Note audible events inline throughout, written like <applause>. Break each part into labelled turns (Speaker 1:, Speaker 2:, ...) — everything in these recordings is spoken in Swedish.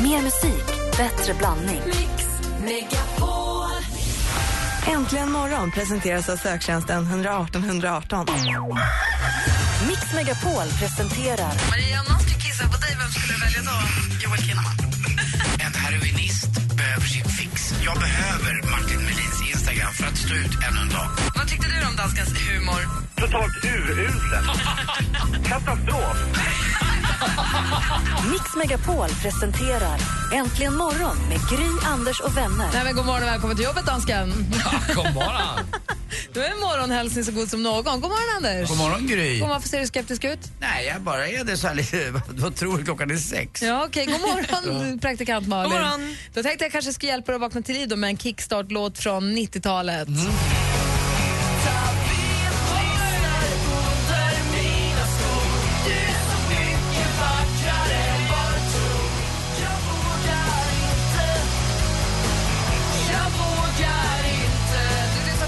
Speaker 1: Mer musik, bättre blandning.
Speaker 2: Mix Megapol.
Speaker 3: Äntligen morgon presenteras av söktjänsten 118 118.
Speaker 1: Mix Megapol presenterar
Speaker 4: Maria, om någon skulle kissa på dig, vem skulle du välja då? Joel Kinnaman.
Speaker 5: En heroinist behöver sin fix. Jag behöver Martin Melins Instagram för att stå ut ännu en dag.
Speaker 4: Vad tyckte du om danskens humor?
Speaker 6: Totalt urusel. Katastrof.
Speaker 1: Mix Megapol presenterar Äntligen morgon med Gry, Anders och vänner.
Speaker 7: Nej, men god morgon och välkommen till jobbet, dansken. <laughs>
Speaker 5: God morgon.
Speaker 7: Du är en morgonhälsning så god som någon. God morgon, Anders.
Speaker 5: God morgon, Gry.
Speaker 7: God, varför ser du skeptisk ut?
Speaker 5: Nej, jag bara är det så här lite... <laughs> Vad tror du? Klockan är sex.
Speaker 7: Ja, okej. God morgon, praktikant Malin.
Speaker 4: God morgon.
Speaker 7: Då tänkte jag kanske ska hjälpa dig att vakna till liv då med en kickstart-låt från Eh, 90-talet.
Speaker 5: Mm.
Speaker 7: Du lyssnar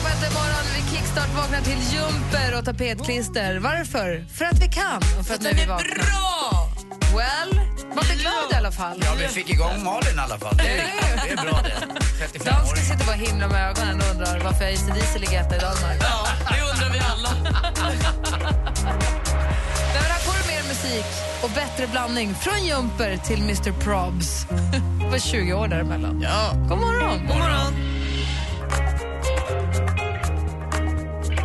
Speaker 7: på Äntligen morgon. Vi kickstart vaknar till jumper och tapetklister. Varför? För att vi kan och för att vi vaknar.
Speaker 4: Bra!
Speaker 7: Well, man blir glad i alla fall.
Speaker 5: Ja, vi fick igång Malin i alla fall. Det är, det är bra det. 35 år.
Speaker 7: Dansken sitter bara och himlar med ögonen och undrar varför AC DC ligger etta i Danmark.
Speaker 4: Ja, det undrar vi alla.
Speaker 7: Nej, men här får du mer musik och bättre blandning från Jumper till Mr Probs. <laughs> Det var 20 år däremellan.
Speaker 4: Ja.
Speaker 7: God morgon!
Speaker 4: God morgon.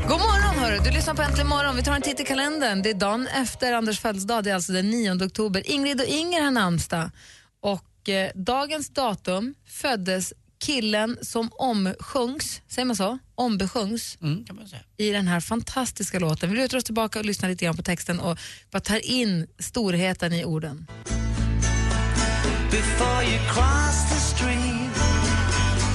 Speaker 7: God morgon, hörru. Du lyssnar på Äntligen morgon. Vi tar en titt i kalendern. Det är dagen efter Anders födelsedag, det är alltså den 9 oktober. Ingrid och Inger har namnsdag. Och eh, dagens datum föddes killen som omsjungs, säger man så? Ombesjungs
Speaker 5: Mm, kan man säga.
Speaker 7: i den här fantastiska låten. Vi lutar oss tillbaka och lyssnar lite grann på texten och bara tar in storheten i orden.
Speaker 8: before you cross the street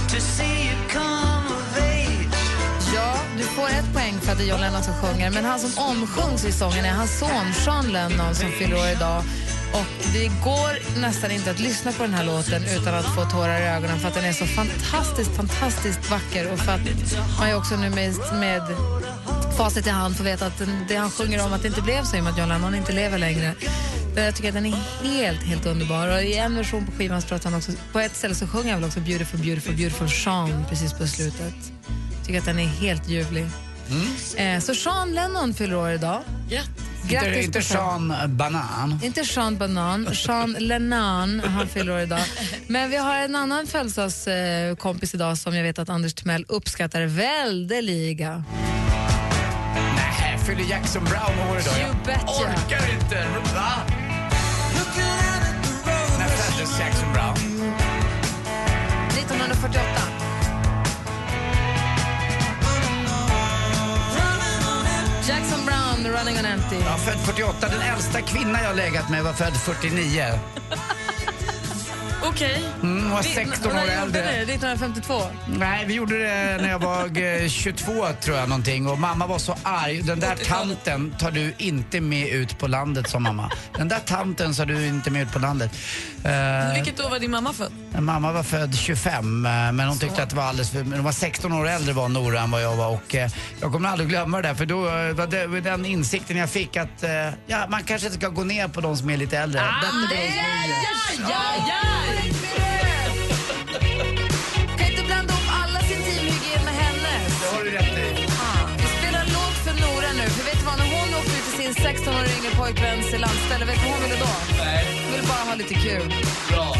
Speaker 8: to see you come of age.
Speaker 7: Ja, du får ett poäng för att det är John Lennon som sjunger. Men han som omsjungs i sången är hans son Sean Lennon som fyller år idag. Och det går nästan inte att lyssna på den här låten utan att få tårar i ögonen för att den är så fantastiskt, fantastiskt vacker och för att man ju också nu med, med facit i hand får veta att den, det han sjunger om att det inte blev så i och med att John Lennon inte lever längre. Men jag tycker att den är helt, helt underbar. Och I en version på skivan så pratar han också, på ett ställe så sjunger han väl också Beautiful, beautiful, beautiful Sean precis på slutet tycker att den är helt ljuvlig.
Speaker 4: Mm.
Speaker 7: Eh, så Sean Lennon fyller år idag.
Speaker 5: Det är
Speaker 7: Grattis
Speaker 5: inte
Speaker 7: på födelsedagen.
Speaker 5: Sean Banan.
Speaker 7: Inte Sean Banan, Sean Lennon, han fyller år idag. Men vi har en annan födelsedagskompis idag som jag vet att Anders Timell uppskattar väldeliga.
Speaker 5: Nej, här fyller Jackson Brown år idag.
Speaker 7: You betcha.
Speaker 5: Jag orkar inte. Va? När föddes Jackson Brown?
Speaker 7: 1948. Jackson Brown, Running on Empty.
Speaker 5: Ja, född 48. Den äldsta kvinna jag legat med var född 49.
Speaker 4: Okej.
Speaker 5: Mm, hon var
Speaker 4: Vi-
Speaker 5: 16
Speaker 7: När
Speaker 5: år
Speaker 7: gjorde ni det?
Speaker 5: äldre.
Speaker 7: 1952.
Speaker 5: Nej, vi gjorde det när jag var eh, 22 tror jag någonting och mamma var så arg. Den där tanten tar du inte med ut på landet, sa mamma. Den där tanten sa du inte med ut på landet. Eh,
Speaker 4: Vilket år var din mamma född?
Speaker 5: Mamma var född 25 eh, men hon tyckte att det var alldeles för, men hon var 16 år äldre var Nora än vad jag var och eh, jag kommer aldrig glömma det där för då eh, var det, var den insikten jag fick att eh, ja, man kanske inte ska gå ner på de som är lite äldre.
Speaker 7: Ah,
Speaker 5: Bättre på de som är yngre.
Speaker 7: Kan inte blanda ihop alla sin teamhygien med hennes.
Speaker 5: Det har du rätt i.
Speaker 7: Vi spelar en låt för Nora nu. För vet du vad, när hon åkte ut till sin 16 år yngre pojkväns landställe, vet du vad hon ville då?
Speaker 5: Nej,
Speaker 7: Hon ville bara ha lite kul.
Speaker 5: bra.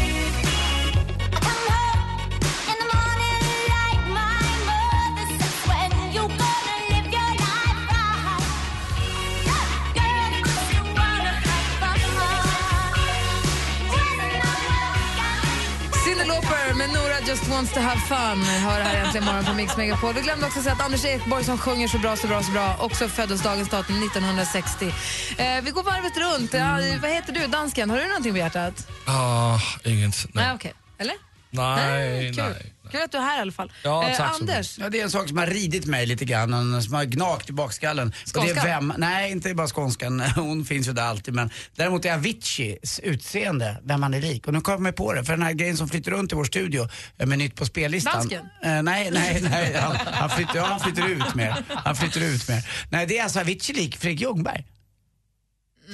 Speaker 7: Cyndi Lauper med Nora Just Wants To Have Fun. Hör det här äntligen morgon på Mix Megapol. Vi glömde också säga att Anders Ekborg som sjunger så bra, så bra, så bra också föddes dagens datum 1960. Eh, vi går varvet runt. Ja, vad heter du, dansken? Har du någonting på hjärtat?
Speaker 9: Ah, inget.
Speaker 7: Nej,
Speaker 9: Nej,
Speaker 7: okej. Eller?
Speaker 9: nej,
Speaker 7: kul.
Speaker 9: nej.
Speaker 7: Kul att du är här i alla fall.
Speaker 9: Ja,
Speaker 7: Eh,
Speaker 9: tack så mycket.
Speaker 7: Anders,
Speaker 5: Ja, det är en sak som har ridit mig lite grann, en som har gnagt i bakskallen. Och det
Speaker 7: Skånskan?
Speaker 5: är vem, nej inte bara skånskan, <laughs> hon finns ju där alltid men däremot är Aviciis utseende, vem han är lik. Och nu kom jag på det, för den här grejen som flyttar runt i vår studio eh, med nytt på spellistan.
Speaker 7: Dansken?
Speaker 5: Eh, nej, nej, <laughs> nej, han, han, flyttar, ja, han flyttar ut mer. Han flyttar ut mer. Nej, det är alltså Avicii lik Fredrik Ljungberg.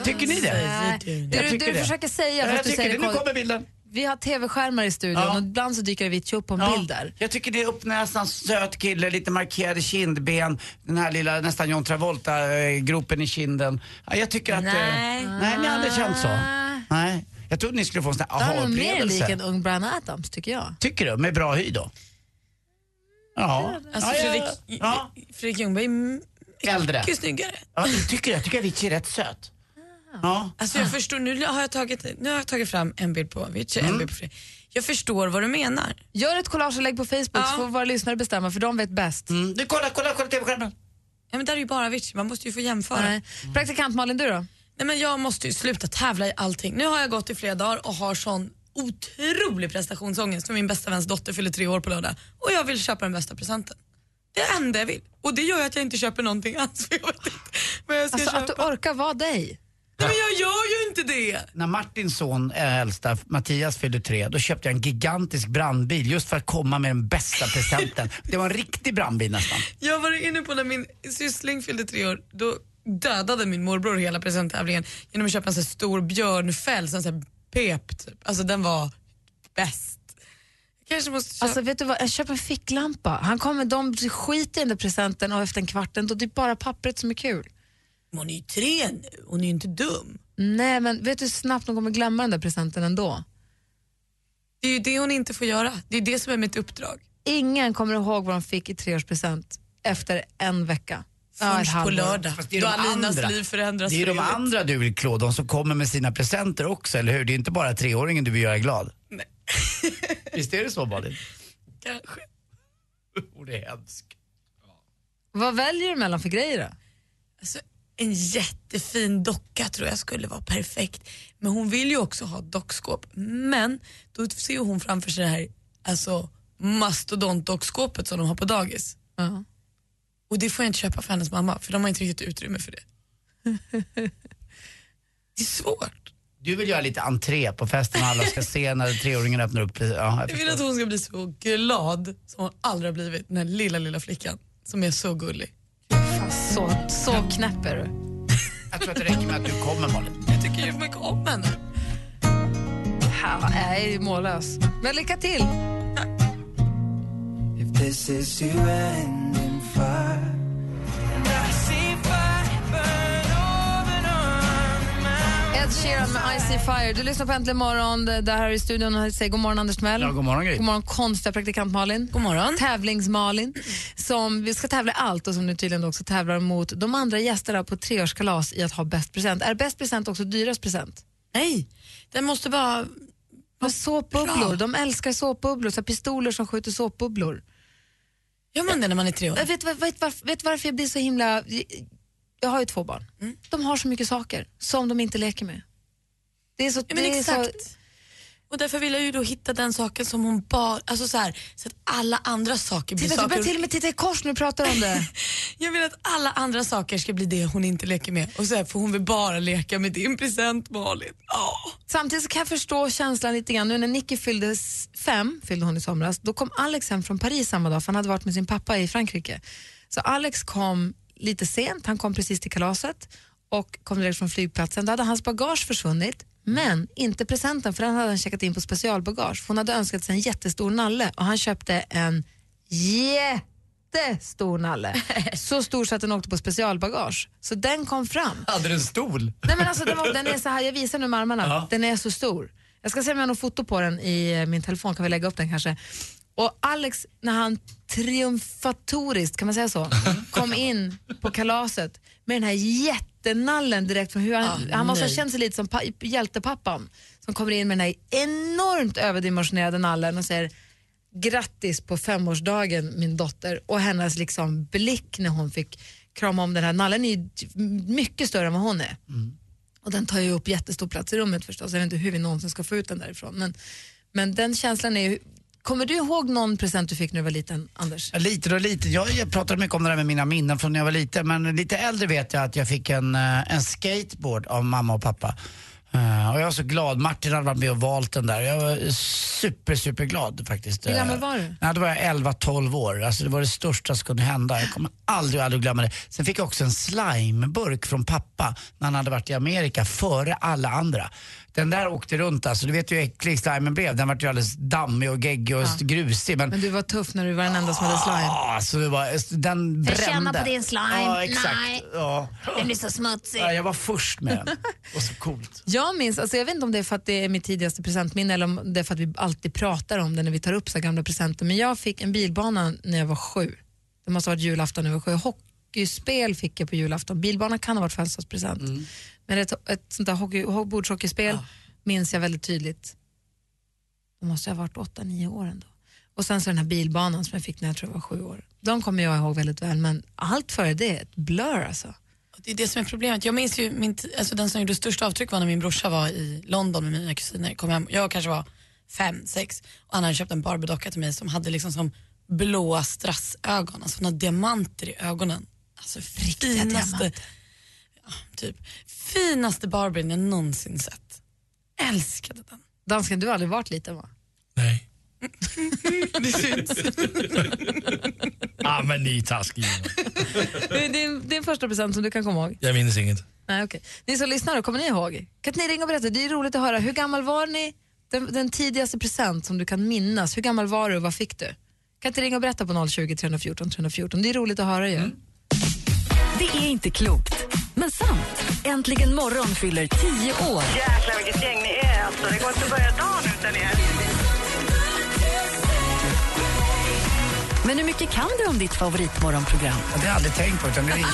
Speaker 5: Tycker ni det?
Speaker 7: Nej, det
Speaker 5: Jag
Speaker 7: du-
Speaker 5: tycker
Speaker 7: eh, du försöker säga för
Speaker 5: Ja,
Speaker 7: att
Speaker 5: jag
Speaker 7: du
Speaker 5: tycker
Speaker 7: säger
Speaker 5: det. Nu
Speaker 7: kon-
Speaker 5: kommer bilden.
Speaker 7: vi har tv-skärmar i studion
Speaker 5: Ja.
Speaker 7: och ibland så dyker Avicii upp på en bild där.
Speaker 5: Jag tycker det är uppnäsan, söt kille, lite markerade kindben, den här lilla nästan John Travolta-gropen i kinden. Ja, jag tycker att... eh,
Speaker 10: Nej.
Speaker 5: nej, ni har aldrig känt så. Nej. Jag trodde ni skulle få en sån här
Speaker 7: Ah. Då är nog mer lik
Speaker 5: aha-upplevelse.
Speaker 7: en ung Brian Adams tycker jag.
Speaker 5: Tycker du? Med bra hy då? Ja.
Speaker 10: Alltså,
Speaker 5: ja,
Speaker 10: Fredrik,
Speaker 5: ja, ja.
Speaker 10: Fredrik Ljungberg är m-
Speaker 5: Äldre.
Speaker 10: mycket snyggare.
Speaker 5: Ja, jag tycker jag tycker Avicii är rätt söt.
Speaker 7: Ah.
Speaker 5: Ja.
Speaker 10: Alltså jag förstår, nu har jag tagit, nu har jag tagit fram en bild på Avicii,
Speaker 5: Mm.
Speaker 10: en bild på Fredrik. Jag förstår vad du menar.
Speaker 7: Gör ett collage och lägg på Facebook så får våra lyssnare bestämma för de vet bäst.
Speaker 5: Mm. Du, kolla, kolla, kolla tv-skärmen.
Speaker 10: Ja, men där är ju bara Avicii, man måste ju få jämföra.
Speaker 7: Nej. Praktikant Malin, du då?
Speaker 10: Nej, men jag måste ju sluta tävla i allting. Nu har jag gått i flera dagar och har sån otrolig prestationsångest för min bästa väns dotter fyller tre år på lördag och jag vill köpa den bästa presenten. Det är det enda jag vill. Och det gör ju att jag inte köper någonting alls för jag vet inte vad jag ska
Speaker 7: Alltså
Speaker 10: köpa.
Speaker 7: att du orkar vara dig.
Speaker 10: Nej, men jag gör ju inte det!
Speaker 5: När Martins son, eh, äldsta, Mattias fyllde tre, då köpte jag en gigantisk brandbil just för att komma med den bästa
Speaker 10: <laughs>
Speaker 5: presenten. Det var en riktig brandbil nästan.
Speaker 10: Jag var inne på när min syssling fyllde tre år, då dödade min morbror hela presenttävlingen genom att köpa en sån här stor björnfäll som så här pep typ. Alltså den var bäst. Jag Kanske måste köpa...
Speaker 7: Alltså vet du vad, jag köper en ficklampa. Han kommer, de skiter i den där presenten och efter en kvarten då det är bara pappret som är kul.
Speaker 10: hon är ju tre nu, hon är ju inte dum.
Speaker 7: Nej men vet du hur snabbt de kommer glömma den där presenten ändå?
Speaker 10: Det är ju det hon inte får göra. Det är det som är mitt uppdrag.
Speaker 7: Ingen kommer ihåg vad de fick i treårspresent efter en vecka. Ja, ett
Speaker 10: Först på
Speaker 7: halvår.
Speaker 10: lördag,
Speaker 5: Fast det är
Speaker 10: då
Speaker 5: de
Speaker 10: Alinas
Speaker 5: andra.
Speaker 10: liv förändras.
Speaker 5: Det är ju de
Speaker 10: för evigt.
Speaker 5: andra du vill klå, de som kommer med sina presenter också, eller hur? Det är inte bara treåringen du vill göra glad. Nej. <laughs> Visst är det så, Malin?
Speaker 10: Kanske.
Speaker 5: Oh, det är hemskt.
Speaker 7: Vad väljer du mellan för grejer då?
Speaker 10: Alltså, en jättefin docka tror jag skulle vara perfekt. Men hon vill ju också ha ett dockskåp. Men då ser ju hon framför sig det här alltså, mastodontdockskåpet som de har på dagis.
Speaker 7: Ja.
Speaker 10: Och det får jag inte köpa för hennes mamma för de har inte riktigt utrymme <laughs> för det. det är svårt.
Speaker 5: Du vill göra lite entré på festen och alla ska se när treåringen öppnar upp. Ja, jag
Speaker 10: Jag vill att
Speaker 5: förstår.
Speaker 10: hon ska bli så glad som hon aldrig har blivit, den här lilla, lilla flickan som är så gullig.
Speaker 7: Fan, Så, så knäpp är du.
Speaker 5: Jag tror att det räcker med att du kommer, Malin.
Speaker 10: Jag tycker ju mycket om henne.
Speaker 7: Ja, Jag är mållös. Men lycka till!
Speaker 8: If this is you ending fire, and I see fire burn over and on my
Speaker 7: Ed Sheeran med I See Fire. Du lyssnar på Äntligen morgon. Det det här är i studion. och Säg god morgon, Anders Timell.
Speaker 5: Ja, god morgon, Gry.
Speaker 7: God morgon, konstiga praktikant Malin.
Speaker 10: God morgon.
Speaker 7: Tävlings-Malin. Som vi ska tävla i allt och som nu tydligen också tävlar mot de andra gästerna på treårskalas i att ha bäst present. Är bäst present också dyrast present?
Speaker 10: Nej, den måste bara...
Speaker 7: Men såpbubblor.
Speaker 10: bra.
Speaker 7: De älskar såpbubblor. Så här pistoler som skjuter såpbubblor.
Speaker 10: Gör man det när man är tre år?
Speaker 7: Jag vet, vet, vet, varf- vet varför jag blir så himla... Jag har ju två barn.
Speaker 10: Mm.
Speaker 7: De har så mycket saker som de inte leker med. Det är så...
Speaker 10: Ja, men
Speaker 7: det är så-
Speaker 10: exakt. Och därför vill jag ju då hitta den saken som hon bara, alltså så här, så att alla andra saker blir
Speaker 7: Titta, du
Speaker 10: saker.
Speaker 7: börjar till och med titta i kors när du pratar om det.
Speaker 10: Jag vill att alla andra saker ska bli det hon inte leker med. Och så här, för hon vill bara leka med din present Malin. Oh.
Speaker 7: Samtidigt så kan jag förstå känslan lite grann. Nu när Nicky fyllde s- fem, fyllde hon i somras, då kom Alex hem från Paris samma dag för han hade varit med sin pappa i Frankrike. Så Alex kom lite sent, han kom precis till kalaset och kom direkt från flygplatsen. Då hade hans bagage försvunnit, men inte presenten för den hade han checkat in på specialbagage. För Hon hade önskat sig en jättestor nalle och han köpte en jättestor nalle. Så stor så att den åkte på specialbagage. Så den kom fram.
Speaker 5: Hade du en stol?
Speaker 7: Nej men alltså den, var, den är så här, jag visar nu med armarna.
Speaker 5: Ja.
Speaker 7: Den är så stor. Jag ska se om jag har något foto på den i eh, min telefon, kan vi lägga upp den kanske. Och Alex, när han triumfatoriskt, kan man säga så, kom in på kalaset med den här jättenallen direkt från hur han, han måste ha känt sig lite som pa- hjältepappan som kommer in med den här enormt överdimensionerade nallen och säger grattis på femårsdagen min dotter och hennes liksom blick när hon fick krama om den här nallen är ju mycket större än vad hon är. Och den tar ju upp jättestor plats i rummet förstås. Jag vet inte hur vi någonsin ska få ut den därifrån. Men, men den känslan är ju... Kommer du ihåg någon present du fick när du var liten, Anders?
Speaker 5: Ja, Lite och lite. Jag jag pratade mycket om det där med mina minnen från när jag var liten. Men lite äldre vet jag att jag fick en, eh, en skateboard av mamma och pappa. Eh, Och jag var så glad. Martin hade varit med och valt den där. Jag var super, super glad faktiskt.
Speaker 7: Hur gammal
Speaker 5: Eh,
Speaker 7: var du?
Speaker 5: Nej, då var jag 11-12 år. Alltså, det var det största som kunde hända. Jag kommer aldrig, aldrig glömma det. Sen fick jag också en slimeburk från pappa när han hade varit i Amerika före alla andra. Den där åkte runt alltså. Du vet ju hur äcklig slimen blev. Den vart ju alldeles dammig och geggig och grusig. Men,
Speaker 7: Men du var tuff när du var den enda som hade slime.
Speaker 5: Ja, alltså det var,
Speaker 7: Jag
Speaker 5: den brände.
Speaker 7: känner på din slime.
Speaker 5: Ja, exakt.
Speaker 7: Nej.
Speaker 5: Ja.
Speaker 7: Den blir så smutsig.
Speaker 5: Ja, jag var först med den. Och så
Speaker 7: <laughs>
Speaker 5: coolt.
Speaker 7: Jag minns, alltså jag vet inte om det är för att det är mitt tidigaste presentminne eller om det är för att vi alltid pratar om det när vi tar upp så här gamla presenter, men jag fick en bilbana när jag var sju. Det måste ha varit julafton när jag var sju. Hockeyspel fick jag på julafton. Bilbana kan ha varit födelsedagspresent. Men ett, ett sånt där hockey, ho- bordshockeyspel minns jag väldigt tydligt. Då måste jag ha varit åtta, nio år ändå. Och sen så den här bilbanan som jag fick när jag tror jag var sju år. De kommer jag ihåg väldigt väl, men allt före det är ett blur alltså.
Speaker 10: Det är det som är problemet. Jag minns ju min, t- alltså den som gjorde största avtryck var när min brorsa var i London med mina kusiner. Kom hem. Jag kanske var fem, sex och han hade köpt en Barbie-docka till mig som hade liksom som blåa strassögon, alltså några diamanter i ögonen. Alltså finaste, ja, typ, finaste Barbien jag någonsin sett. Älskade den.
Speaker 7: Dansken, du har aldrig varit liten va?
Speaker 10: <laughs> Det syns.
Speaker 9: <laughs> Ah, men ni är taskiga.
Speaker 7: Det är din, din första present som du kan komma ihåg?
Speaker 9: Jag minns inget.
Speaker 7: Nej, okay. Ni som lyssnar, då, kommer ni ihåg? Kan inte ni ringa och berätta? Det är roligt att höra. Hur gammal var ni? Den, den tidigaste present som du kan minnas. Hur gammal var du och vad fick du? Kan inte ni ringa och berätta på 020 314 314? Det är roligt att höra ju.
Speaker 1: Det är inte klokt, men sant. Äntligen morgon fyller 10 år.
Speaker 4: Jäklar vilket gäng ni är alltså. Det går inte att börja dagen utan er.
Speaker 1: Men hur mycket kan du om ditt favoritmorgonprogram?
Speaker 5: Det har jag aldrig tänkt på utan <laughs> det ringde.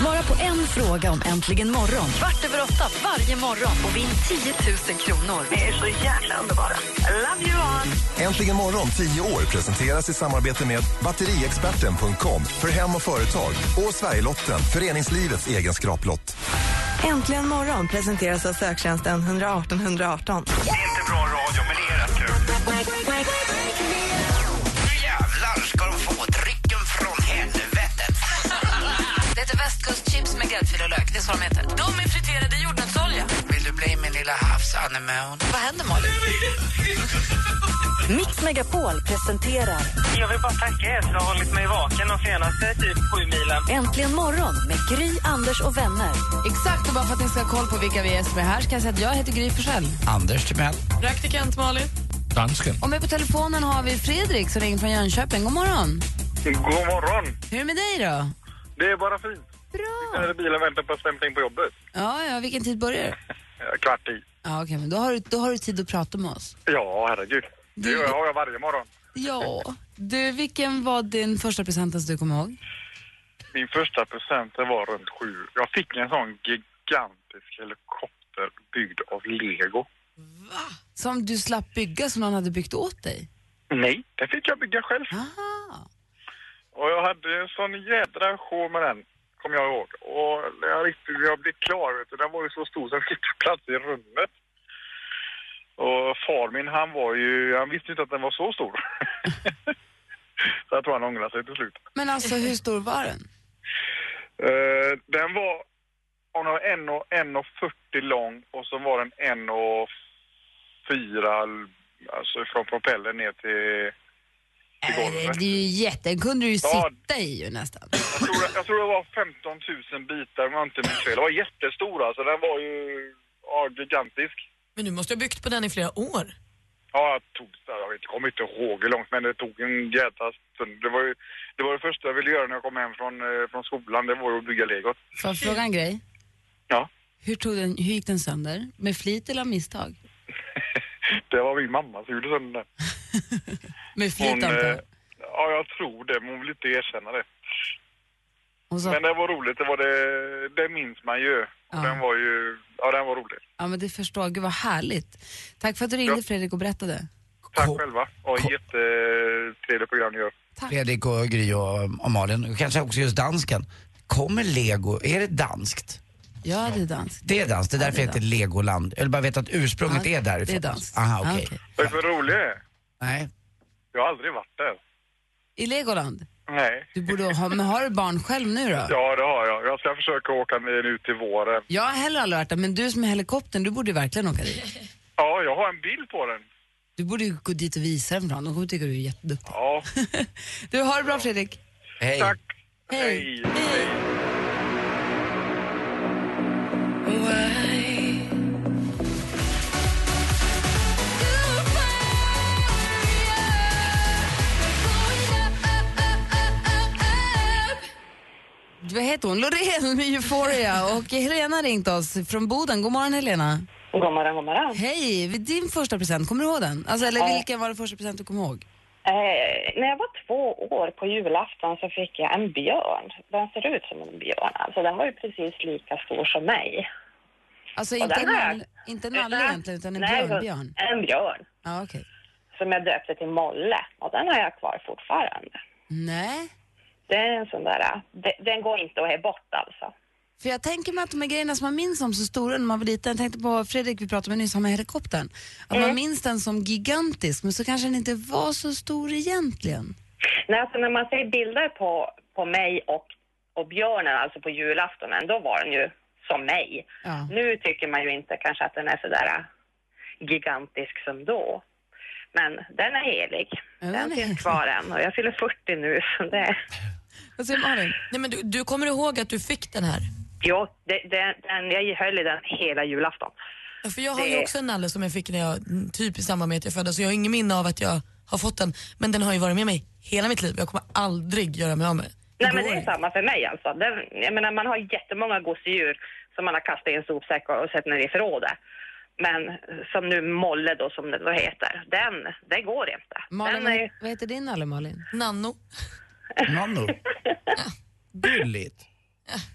Speaker 1: Svara på en fråga om Äntligen morgon. Kvart över åtta varje morgon och vinn 10 000 kronor.
Speaker 4: Ni är så jäkla underbara. I love you all.
Speaker 11: Äntligen morgon 10 år presenteras i samarbete med batteriexperten.com för hem och företag och Sverigelotten, föreningslivets egen skraplott.
Speaker 3: Äntligen morgon presenteras av söktjänsten 118 118.
Speaker 6: Det är inte bra radio, men det är rätt kul. Nu jävlar ska de få drycken från helvetet.
Speaker 2: Det heter västkustchips med gräddfil och lök. Det är så de heter. De är friterade i jordnötsolja.
Speaker 5: Vill du bli min lilla havsanemon?
Speaker 2: Vad händer, Malin?
Speaker 1: Mix Megapol presenterar
Speaker 6: Jag vill bara tacka er som har hållit mig vaken de senaste typ sju milen.
Speaker 1: Äntligen morgon med Gry, Anders och vänner.
Speaker 7: Exakt, och bara för att ni ska ha koll på vilka vi är som är här ska jag säga att jag heter Gry Forssell.
Speaker 5: Anders Timell.
Speaker 10: Praktikant Malin.
Speaker 9: Dansken.
Speaker 7: Och med på telefonen har vi Fredrik som ringer från Jönköping. God morgon!
Speaker 6: God morgon.
Speaker 7: Hur är det med dig då?
Speaker 6: Det är bara fint.
Speaker 7: Bra!
Speaker 6: Jag är i bilen och väntar på att stämpla in på jobbet.
Speaker 7: Ja, ja, vilken tid börjar det?
Speaker 6: Eh, Kvart i.
Speaker 7: Ja, okej, men då har, du, då har du tid att prata med oss.
Speaker 6: Ja, herregud. Det gör jag- har jag varje morgon.
Speaker 7: Ja. Du, vilken var din första present som du kommer ihåg?
Speaker 6: Min första present det var runt sju. Jag fick en sån gigantisk helikopter byggd av lego.
Speaker 7: Som du slapp bygga, som någon hade byggt åt dig?
Speaker 6: Nej, den fick jag bygga själv.
Speaker 7: Aha.
Speaker 6: Och jag hade en sån jädra show med den, kommer jag ihåg. Och när jag, riktigt, när jag blev klar, vet du, den var ju så stor så jag fick plats i rummet. Och far min, han var ju, han visste inte att den var så
Speaker 7: <laughs>
Speaker 6: stor. så jag tror han ångrade sig till slut.
Speaker 7: Men alltså, hur stor var den?
Speaker 6: Eh, den var om den var en och, en och 40 lång och så var den en och fyra, alltså från propellern ner till, till golvet.
Speaker 7: Det är ju jätte... Den kunde du ju
Speaker 6: Ja.
Speaker 7: sitta i ju nästan.
Speaker 6: Jag tror, jag tror det var 15 000 bitar om jag inte minns fel. Den var jättestor alltså, den var ju ja, gigantisk.
Speaker 10: Men du måste ha byggt på den i flera år.
Speaker 6: Ja, jag tog, jag vet- kommer inte ihåg hur långt, men det tog en jädra stund. Det var ju det, var det första jag ville göra när jag kom hem från, eh, från skolan, det var ju att bygga legot.
Speaker 7: Får jag fråga en grej?
Speaker 6: Ja.
Speaker 7: Hur, tog den, hur gick den sönder? Med flit eller av misstag?
Speaker 6: Det var min mamma som gjorde sönder den.
Speaker 7: <laughs> Med
Speaker 6: Hon,
Speaker 7: flit, antar
Speaker 6: eh,
Speaker 7: jag.
Speaker 6: ja, jag tror det, men hon vill inte erkänna det.
Speaker 7: Och så-
Speaker 6: Men det var roligt, det, var det, det minns man ju.
Speaker 7: Ja.
Speaker 6: Den var ju, ja den var rolig.
Speaker 7: Ja, men det förstår jag. Gud, vad härligt. Tack för att du ringde, Fredrik, och berättade.
Speaker 6: Tack själva, och jättetrevligt program ni gör.
Speaker 5: Fredrik och Gry och, och Malin. Och Kanske också just dansken. Kommer lego, är det danskt?
Speaker 7: Ja, det är danskt.
Speaker 5: Det är danskt, det är därför det heter legoland. Jag vill bara veta att ursprunget
Speaker 7: Ja,
Speaker 5: är därifrån.
Speaker 7: det är danskt.
Speaker 5: Aha, okej.
Speaker 7: Ja, okej.
Speaker 6: Vad är det för rolig jag är?
Speaker 5: Nej.
Speaker 6: Jag har aldrig varit där.
Speaker 7: I Legoland?
Speaker 6: Nej.
Speaker 7: Du borde ha... Men har du barn själv nu då?
Speaker 6: Ja, det har jag. Jag ska försöka åka ner nu till våren.
Speaker 7: Jag har heller aldrig varit där, men du som är helikoptern, du borde ju verkligen åka dit.
Speaker 6: Ja, jag har en bild på den.
Speaker 7: Du borde ju gå dit och visa den för dem. De kommer tycka du är jätteduktig.
Speaker 6: Ja.
Speaker 7: Du, har det bra Fredrik.
Speaker 5: Hej.
Speaker 6: Tack.
Speaker 7: Hej.
Speaker 6: Hej.
Speaker 7: heter hon? Loreen med Euphoria. Och Helena har ringt oss från Boden. God morgon Helena.
Speaker 12: God morgon, god morgon.
Speaker 7: Hej! Din första present, kommer du ihåg den? Alltså, eller
Speaker 12: Ja.
Speaker 7: vilken var den första present du kommer ihåg?
Speaker 12: Eh, när jag var två år på julafton så fick jag en björn. Den ser ut som en björn. Alltså den var ju precis lika stor som mig.
Speaker 7: Alltså
Speaker 12: Och
Speaker 7: inte en,
Speaker 12: den har jag-
Speaker 7: man, inte en nalle egentligen, utan en
Speaker 12: Nej,
Speaker 7: björnbjörn.
Speaker 12: En björn.
Speaker 7: Ja, okej.
Speaker 12: Som jag döpte till Molle. Och den har jag kvar fortfarande.
Speaker 7: Nej.
Speaker 12: Det är en sån där... eh, de- Den går inte att ge bort alltså.
Speaker 7: För jag tänker mig att de här grejerna som man minns som så stora när man var liten, jag tänkte på Fredrik vi pratade med nyss, han med helikoptern. Att
Speaker 12: Mm.
Speaker 7: man minns den som gigantisk, men så kanske den inte var så stor egentligen.
Speaker 12: Nej, alltså när man ser bilder på, på mig och, och björnen, alltså på julaftonen, då var den ju som mig. Nu tycker man ju inte kanske att den är sådär äh, gigantisk som då. Men den är helig. Den finns kvar än och jag fyller 40 nu så det...
Speaker 10: Vad säger Malin? Nej, men du, du kommer ihåg att du fick den här?
Speaker 12: Ja, det, det, den, jag höll i den hela julafton.
Speaker 10: Ja, för jag har
Speaker 12: Det-
Speaker 10: ju också en nalle som jag fick när jag, mm, typ i samband med att jag föddes, så jag har ingen minne av att jag har fått den. Men den har ju varit med mig hela mitt liv jag kommer aldrig göra mig av med den.
Speaker 12: Nej men det är samma för mig alltså. Det, jag menar man har jättemånga gosedjur som man har kastat i en sopsäck och och sett ner i förrådet. Men som nu Molle då som det då heter, den, det går inte.
Speaker 7: Malin,
Speaker 12: den
Speaker 7: vad
Speaker 12: är,
Speaker 7: he- vad heter din nalle Malin?
Speaker 10: Nanno.
Speaker 7: <laughs>
Speaker 5: Nanno. Gulligt.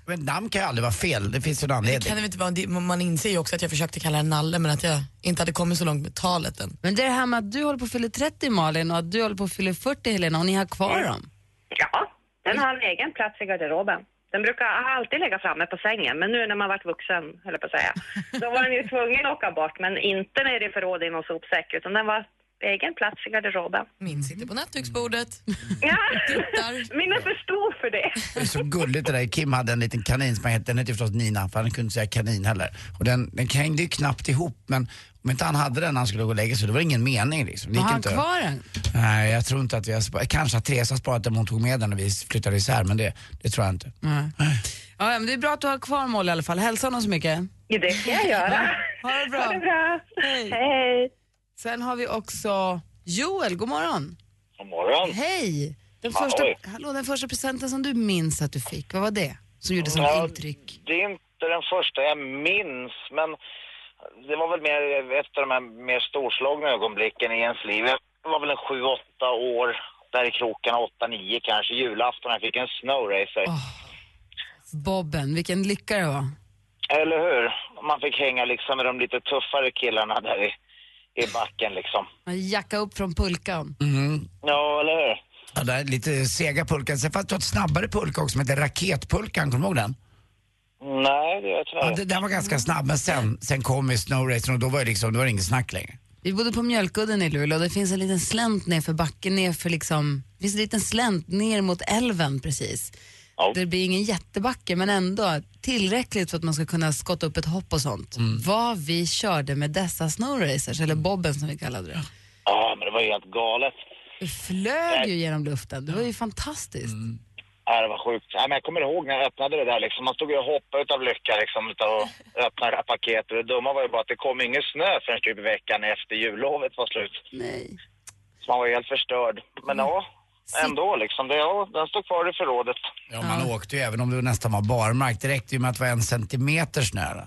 Speaker 5: Men namn kan ju aldrig vara fel, det finns ju en
Speaker 10: Kan det
Speaker 5: anledning.
Speaker 10: väl inte vara, det- man inser ju också att jag försökte kalla den nalle men att jag inte hade kommit så långt med talet än.
Speaker 7: Men det är det här med att du håller på att fylla 30 Malin och att du håller på att fylla 40 Helena och ni har kvar
Speaker 12: Mm.
Speaker 7: dem.
Speaker 12: ja, den har en egen plats i garderoben. Den brukar alltid ligga framme på sängen, men nu när man varit vuxen, höll jag på
Speaker 7: <laughs>
Speaker 12: att säga, då var den ju tvungen att åka bort, men inte ner i förrådet i någon sopsäck, utan den var på egen plats i garderoben.
Speaker 10: Min sitter på nattduksbordet.
Speaker 7: <laughs>
Speaker 12: Ja, min är för stor för det.
Speaker 5: Det är så gulligt det där. Kim hade en liten kanin som han hette, den hette ju förstås Nina, för han kunde inte säga kanin heller. Och den, den hängde ju knappt ihop, men om inte han hade den när han skulle gå och lägga sig, det var ingen mening liksom. Det
Speaker 7: Har
Speaker 5: gick
Speaker 7: han
Speaker 5: inte.
Speaker 7: kvar den?
Speaker 5: Nej, jag tror inte att vi har sparat, kanske att Therese har sparat den, men hon tog med den när vi flyttade isär, men det, det tror jag inte.
Speaker 7: Nej. Ja, ja, men det är bra att du har kvar Molly i alla fall. Hälsa honom så mycket.
Speaker 12: Ja, det ska jag göra.
Speaker 7: Ja, ha det bra.
Speaker 12: Ha det bra.
Speaker 7: Hej.
Speaker 12: Hej.
Speaker 7: Sen har vi också Joel, god morgon.
Speaker 6: God morgon.
Speaker 7: Hej! Den
Speaker 6: Hallå.
Speaker 7: första, hallå, den första presenten som du minns att du fick, vad var det? Som gjorde sånt
Speaker 6: Ja,
Speaker 7: intryck?
Speaker 6: Det är inte den första jag minns, men det var väl mer efter de här mer storslagna ögonblicken i ens liv. Jag var väl en sju, åtta år, där i krokarna, åtta, nio kanske, julafton. Jag fick en snowracer.
Speaker 7: Bobben, vilken lycka det var.
Speaker 6: Eller hur? Man fick hänga liksom med de lite tuffare killarna där i, i backen liksom.
Speaker 7: Man jacka upp från pulkan.
Speaker 5: Mm.
Speaker 6: Ja, eller hur?
Speaker 5: Ja, det är lite sega pulkan. Sen fanns det ett snabbare pulka också som hette Raketpulkan, kommer du ihåg den?
Speaker 6: Nej, det gör jag tyvärr
Speaker 5: Ja, det, den var ganska snabb, men sen, sen kom ju snowracen och då var det liksom, det var inget snack längre.
Speaker 7: Vi bodde på Mjölkudden i Luleå och det finns en liten slänt nerför backen, nerför liksom, det finns en liten slänt ner mot älven precis. Det blir ingen jättebacke men ändå tillräckligt för att man ska kunna skotta upp ett hopp och sånt. Vad vi körde med dessa snowracers, eller bobben som vi kallade det.
Speaker 6: Ja, men det var ju helt galet.
Speaker 7: Du flög ju genom luften, det var ju fantastiskt.
Speaker 6: Ja, det var sjukt. Ja, men jag kommer ihåg när jag öppnade det där liksom. Man stod ju och hoppade utav lycka liksom, utav
Speaker 7: <laughs>
Speaker 6: att öppna det här paketet. Det dumma var ju bara att det kom ingen snö förrän typ veckan efter jullovet var slut.
Speaker 7: Nej. Mm.
Speaker 6: Så man var ju helt förstörd. Men ja, ändå liksom. Det, ja, den stod kvar i förrådet.
Speaker 5: Ja, man åkte ju även om det nästan var barmark. Det räckte ju med att det var en centimeter snö. då.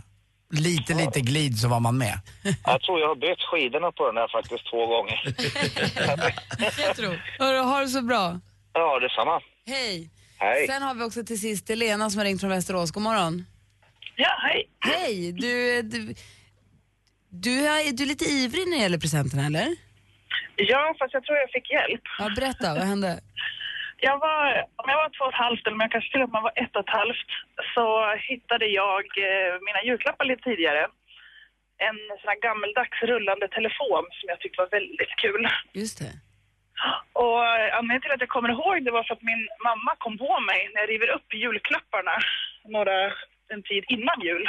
Speaker 5: Lite, lite glid så var man med.
Speaker 6: Jag tror jag har bytt skidorna på den där faktiskt två gånger.
Speaker 7: Jag tror. Hörru, ha det så bra.
Speaker 6: Ja, detsamma.
Speaker 7: Hej.
Speaker 6: Hej.
Speaker 7: Sen har vi också till sist Elena som har ringt från Västerås. God morgon.
Speaker 13: Ja, hej.
Speaker 7: Hej. Du, du, du, är, du är lite ivrig när det gäller presenterna, eller?
Speaker 13: Ja, fast jag tror jag fick hjälp.
Speaker 7: Ja, berätta, vad hände?
Speaker 13: Jag var, om jag var två och ett halvt, eller om jag kanske till och med var ett och ett halvt, så hittade jag eh, mina julklappar lite tidigare. En sån här gammeldags rullande telefon som jag tyckte var väldigt kul.
Speaker 7: Just det.
Speaker 13: Och eh, anledningen till att jag kommer ihåg det var för att min mamma kom på mig när jag river upp julklapparna några, en tid innan jul.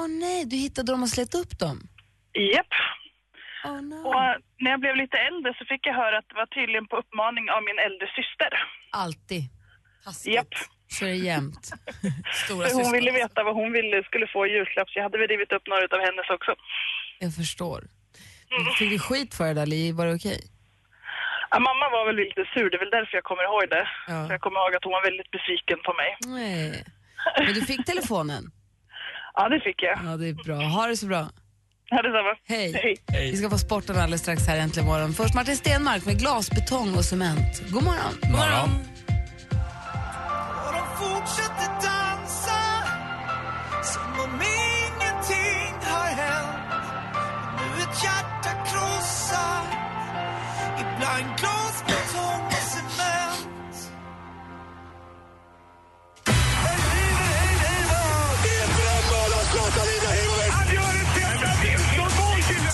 Speaker 7: Åh nej, du hittade dem och slet upp dem.
Speaker 13: Japp.
Speaker 7: Oh, no.
Speaker 13: Och eh, när jag blev lite äldre så fick jag höra att det var tydligen på uppmaning av min äldre syster.
Speaker 7: Alltid.
Speaker 13: Japp.
Speaker 7: Så är det jämt.
Speaker 13: För hon ville
Speaker 7: alltså.
Speaker 13: veta vad hon ville skulle få i julklapp så jag hade väl rivit upp några av hennes också.
Speaker 7: Jag förstår. Fick du skit för det där, eller var det okej?
Speaker 13: Ja, mamma var väl lite sur, det är väl därför jag kommer ihåg det.
Speaker 7: Ja. Mm.
Speaker 13: För jag kommer ihåg att hon var väldigt besviken på mig.
Speaker 7: Nej. Men du fick telefonen?
Speaker 12: Ja, det fick jag.
Speaker 7: Ja, det är bra. Ha det så bra.
Speaker 12: Ja, detsamma.
Speaker 7: Hej. Vi ska få sporten alldeles strax här äntligen morgon. Först Martin Stenmark med glas, betong och cement. God morgon. God morgon.
Speaker 14: Och de fortsätter dansa som om ingenting har hänt. Nu ett hjärta krossar ibland glas, betong och cement.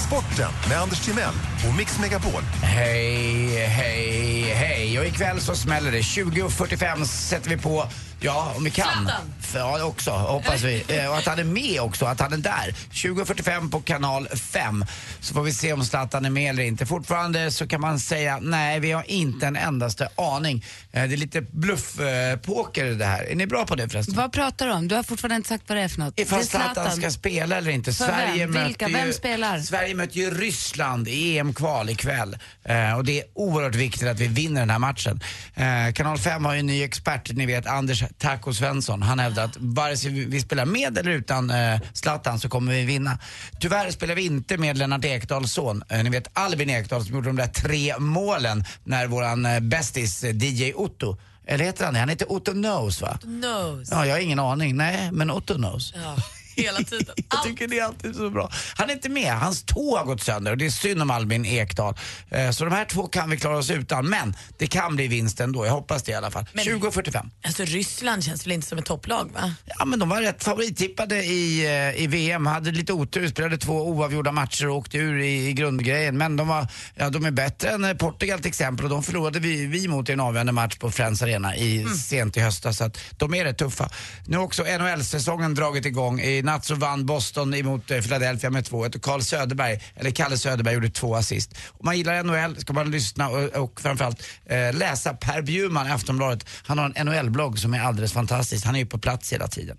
Speaker 15: Sporten med Anders Timell och Mix Megapol.
Speaker 5: Hej, hej, hej. Och ikväll så smäller det. 20.45 sätter vi på, ja om vi kan.
Speaker 14: Zlatan.
Speaker 5: För, ja, också, hoppas vi. Eh, Och att han är med också, att han är där. 20.45 på kanal 5. Så får vi se om Zlatan är med eller inte. Fortfarande så kan man säga, nej vi har inte en endaste aning. Eh, Det är lite bluffpoker eh, det här. Är ni bra på det förresten?
Speaker 7: Vad pratar du om? Du har fortfarande inte sagt vad det är för något.
Speaker 5: Ifall
Speaker 7: Det är
Speaker 5: Zlatan ska spela eller inte.
Speaker 7: För
Speaker 5: Sverige
Speaker 7: vem? Vilka?
Speaker 5: möter ju,
Speaker 7: Vem spelar?
Speaker 5: Sverige möter ju Ryssland i EM-kval ikväll. Eh, och det är oerhört viktigt att vi vinner den här matchen. Eh, Kanal 5 har ju en ny expert, ni vet Anders Taco Svensson. Han hävdar att vare sig vi- vi spelar med eller utan eh, Zlatan så kommer vi vinna. Tyvärr spelar vi inte med Lennart Ekdals son, eh, ni vet Albin Ekdal som gjorde de där tre målen när våran eh, bästis eh, DJ Otto, eller heter han det? Han heter Otto Knows va?
Speaker 10: Nose.
Speaker 5: Ja, jag har ingen aning. Nej, men Otto knows.
Speaker 10: Ja, hela
Speaker 7: <laughs>
Speaker 10: tiden.
Speaker 5: Jag tycker det är alltid så bra. Han är inte med, hans tå har gått sönder och det är synd om Albin Ekdal. Eh, Så de här två kan vi klara oss utan, men det kan bli vinst ändå. Jag hoppas det i alla fall. 20.45.
Speaker 10: Alltså Ryssland känns väl inte som ett topplag va?
Speaker 5: Ja men de var rätt favorittippade i, eh, i VM, hade lite otur, spelade två oavgjorda matcher och åkte ur i, i grundgrejen. Men de, var, ja, de är bättre än eh, Portugal till exempel och de förlorade vi, vi mot i en avgörande match på Friends Arena i, sent i höstas. Så att de är rätt tuffa. Nu har också NHL-säsongen dragit igång. I natt så vann Boston emot eh, Philadelphia med 2-1 och Carl Söderberg, eller Kalle Söderberg gjorde två assist. Om man gillar NHL ska man lyssna och, och framförallt eh, läsa Per Bjurman i Aftonbladet. Han har en NHL-blogg som är alldeles fantastisk. Han är ju på plats hela tiden.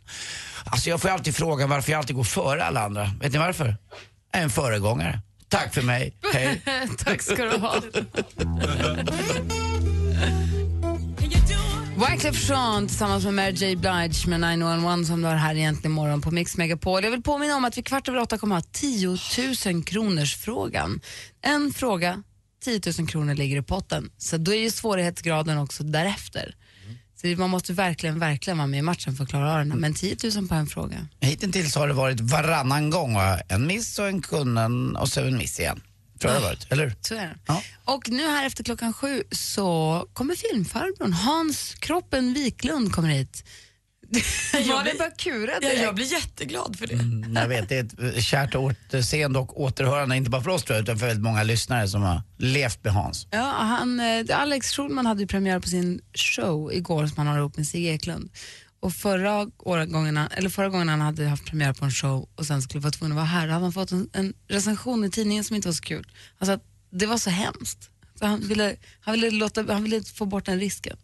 Speaker 5: Alltså jag får ju alltid frågan varför jag alltid går före alla andra. Vet ni varför? Jag är en föregångare. Tack för mig. Hej.
Speaker 7: Tack ska du ha. Wyclef Jean tillsammans med Mary J Blige med 911 som du har här egentligen imorgon på Mix Megapol. Jag vill påminna om att vi kvart över åtta kommer ha 10 000 kronors frågan. En fråga, 10 000 kronor ligger i potten. Så då är ju svårighetsgraden också därefter. Så man måste verkligen, verkligen vara med i matchen för att klara av den här. Men 10 000 på en fråga.
Speaker 5: Hittills har det varit varannan gång. va? En miss och en kunnen och så en miss igen. Tror jag det har varit, eller hur?
Speaker 7: Så är det. Och nu här efter klockan sju så kommer filmfarbrorn Hans Kroppen Wiklund kommer hit. Malin bara kura
Speaker 10: Ja,
Speaker 7: direkt.
Speaker 10: jag blir jätteglad för det.
Speaker 5: Mm, Jag vet, det är ett eh, kärt återseende och återhörande, inte bara för oss tror jag, utan för väldigt många lyssnare som har levt med Hans.
Speaker 7: Ja, han, eh, Alex Schulman hade ju premiär på sin show igår som han har ihop med Sigge Eklund. Och förra, året gången han, eller förra gången han hade haft premiär på en show och sen skulle vara tvungen att vara här, då hade han fått en, en recension i tidningen som inte var så kul. Han sa att det var så hemskt. Så han, ville, han, ville låta, han ville få bort den risken.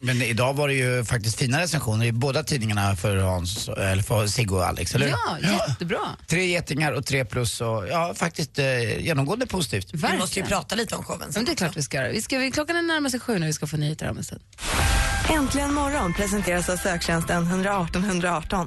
Speaker 5: Men idag var det ju faktiskt fina recensioner i båda tidningarna för Hans, eller för Sigge och Alex, eller hur?
Speaker 7: Ja, jättebra.
Speaker 5: Tre getingar och tre plus och ja, faktiskt eh, genomgående positivt.
Speaker 7: Verkligen. Vi måste ju prata
Speaker 10: lite om showen.
Speaker 7: Men det är klart vi ska göra. Vi ska, vi, klockan är närmare sig sju när vi ska få nyheter om en stund.
Speaker 16: Äntligen morgon presenteras av söktjänsten 118 118.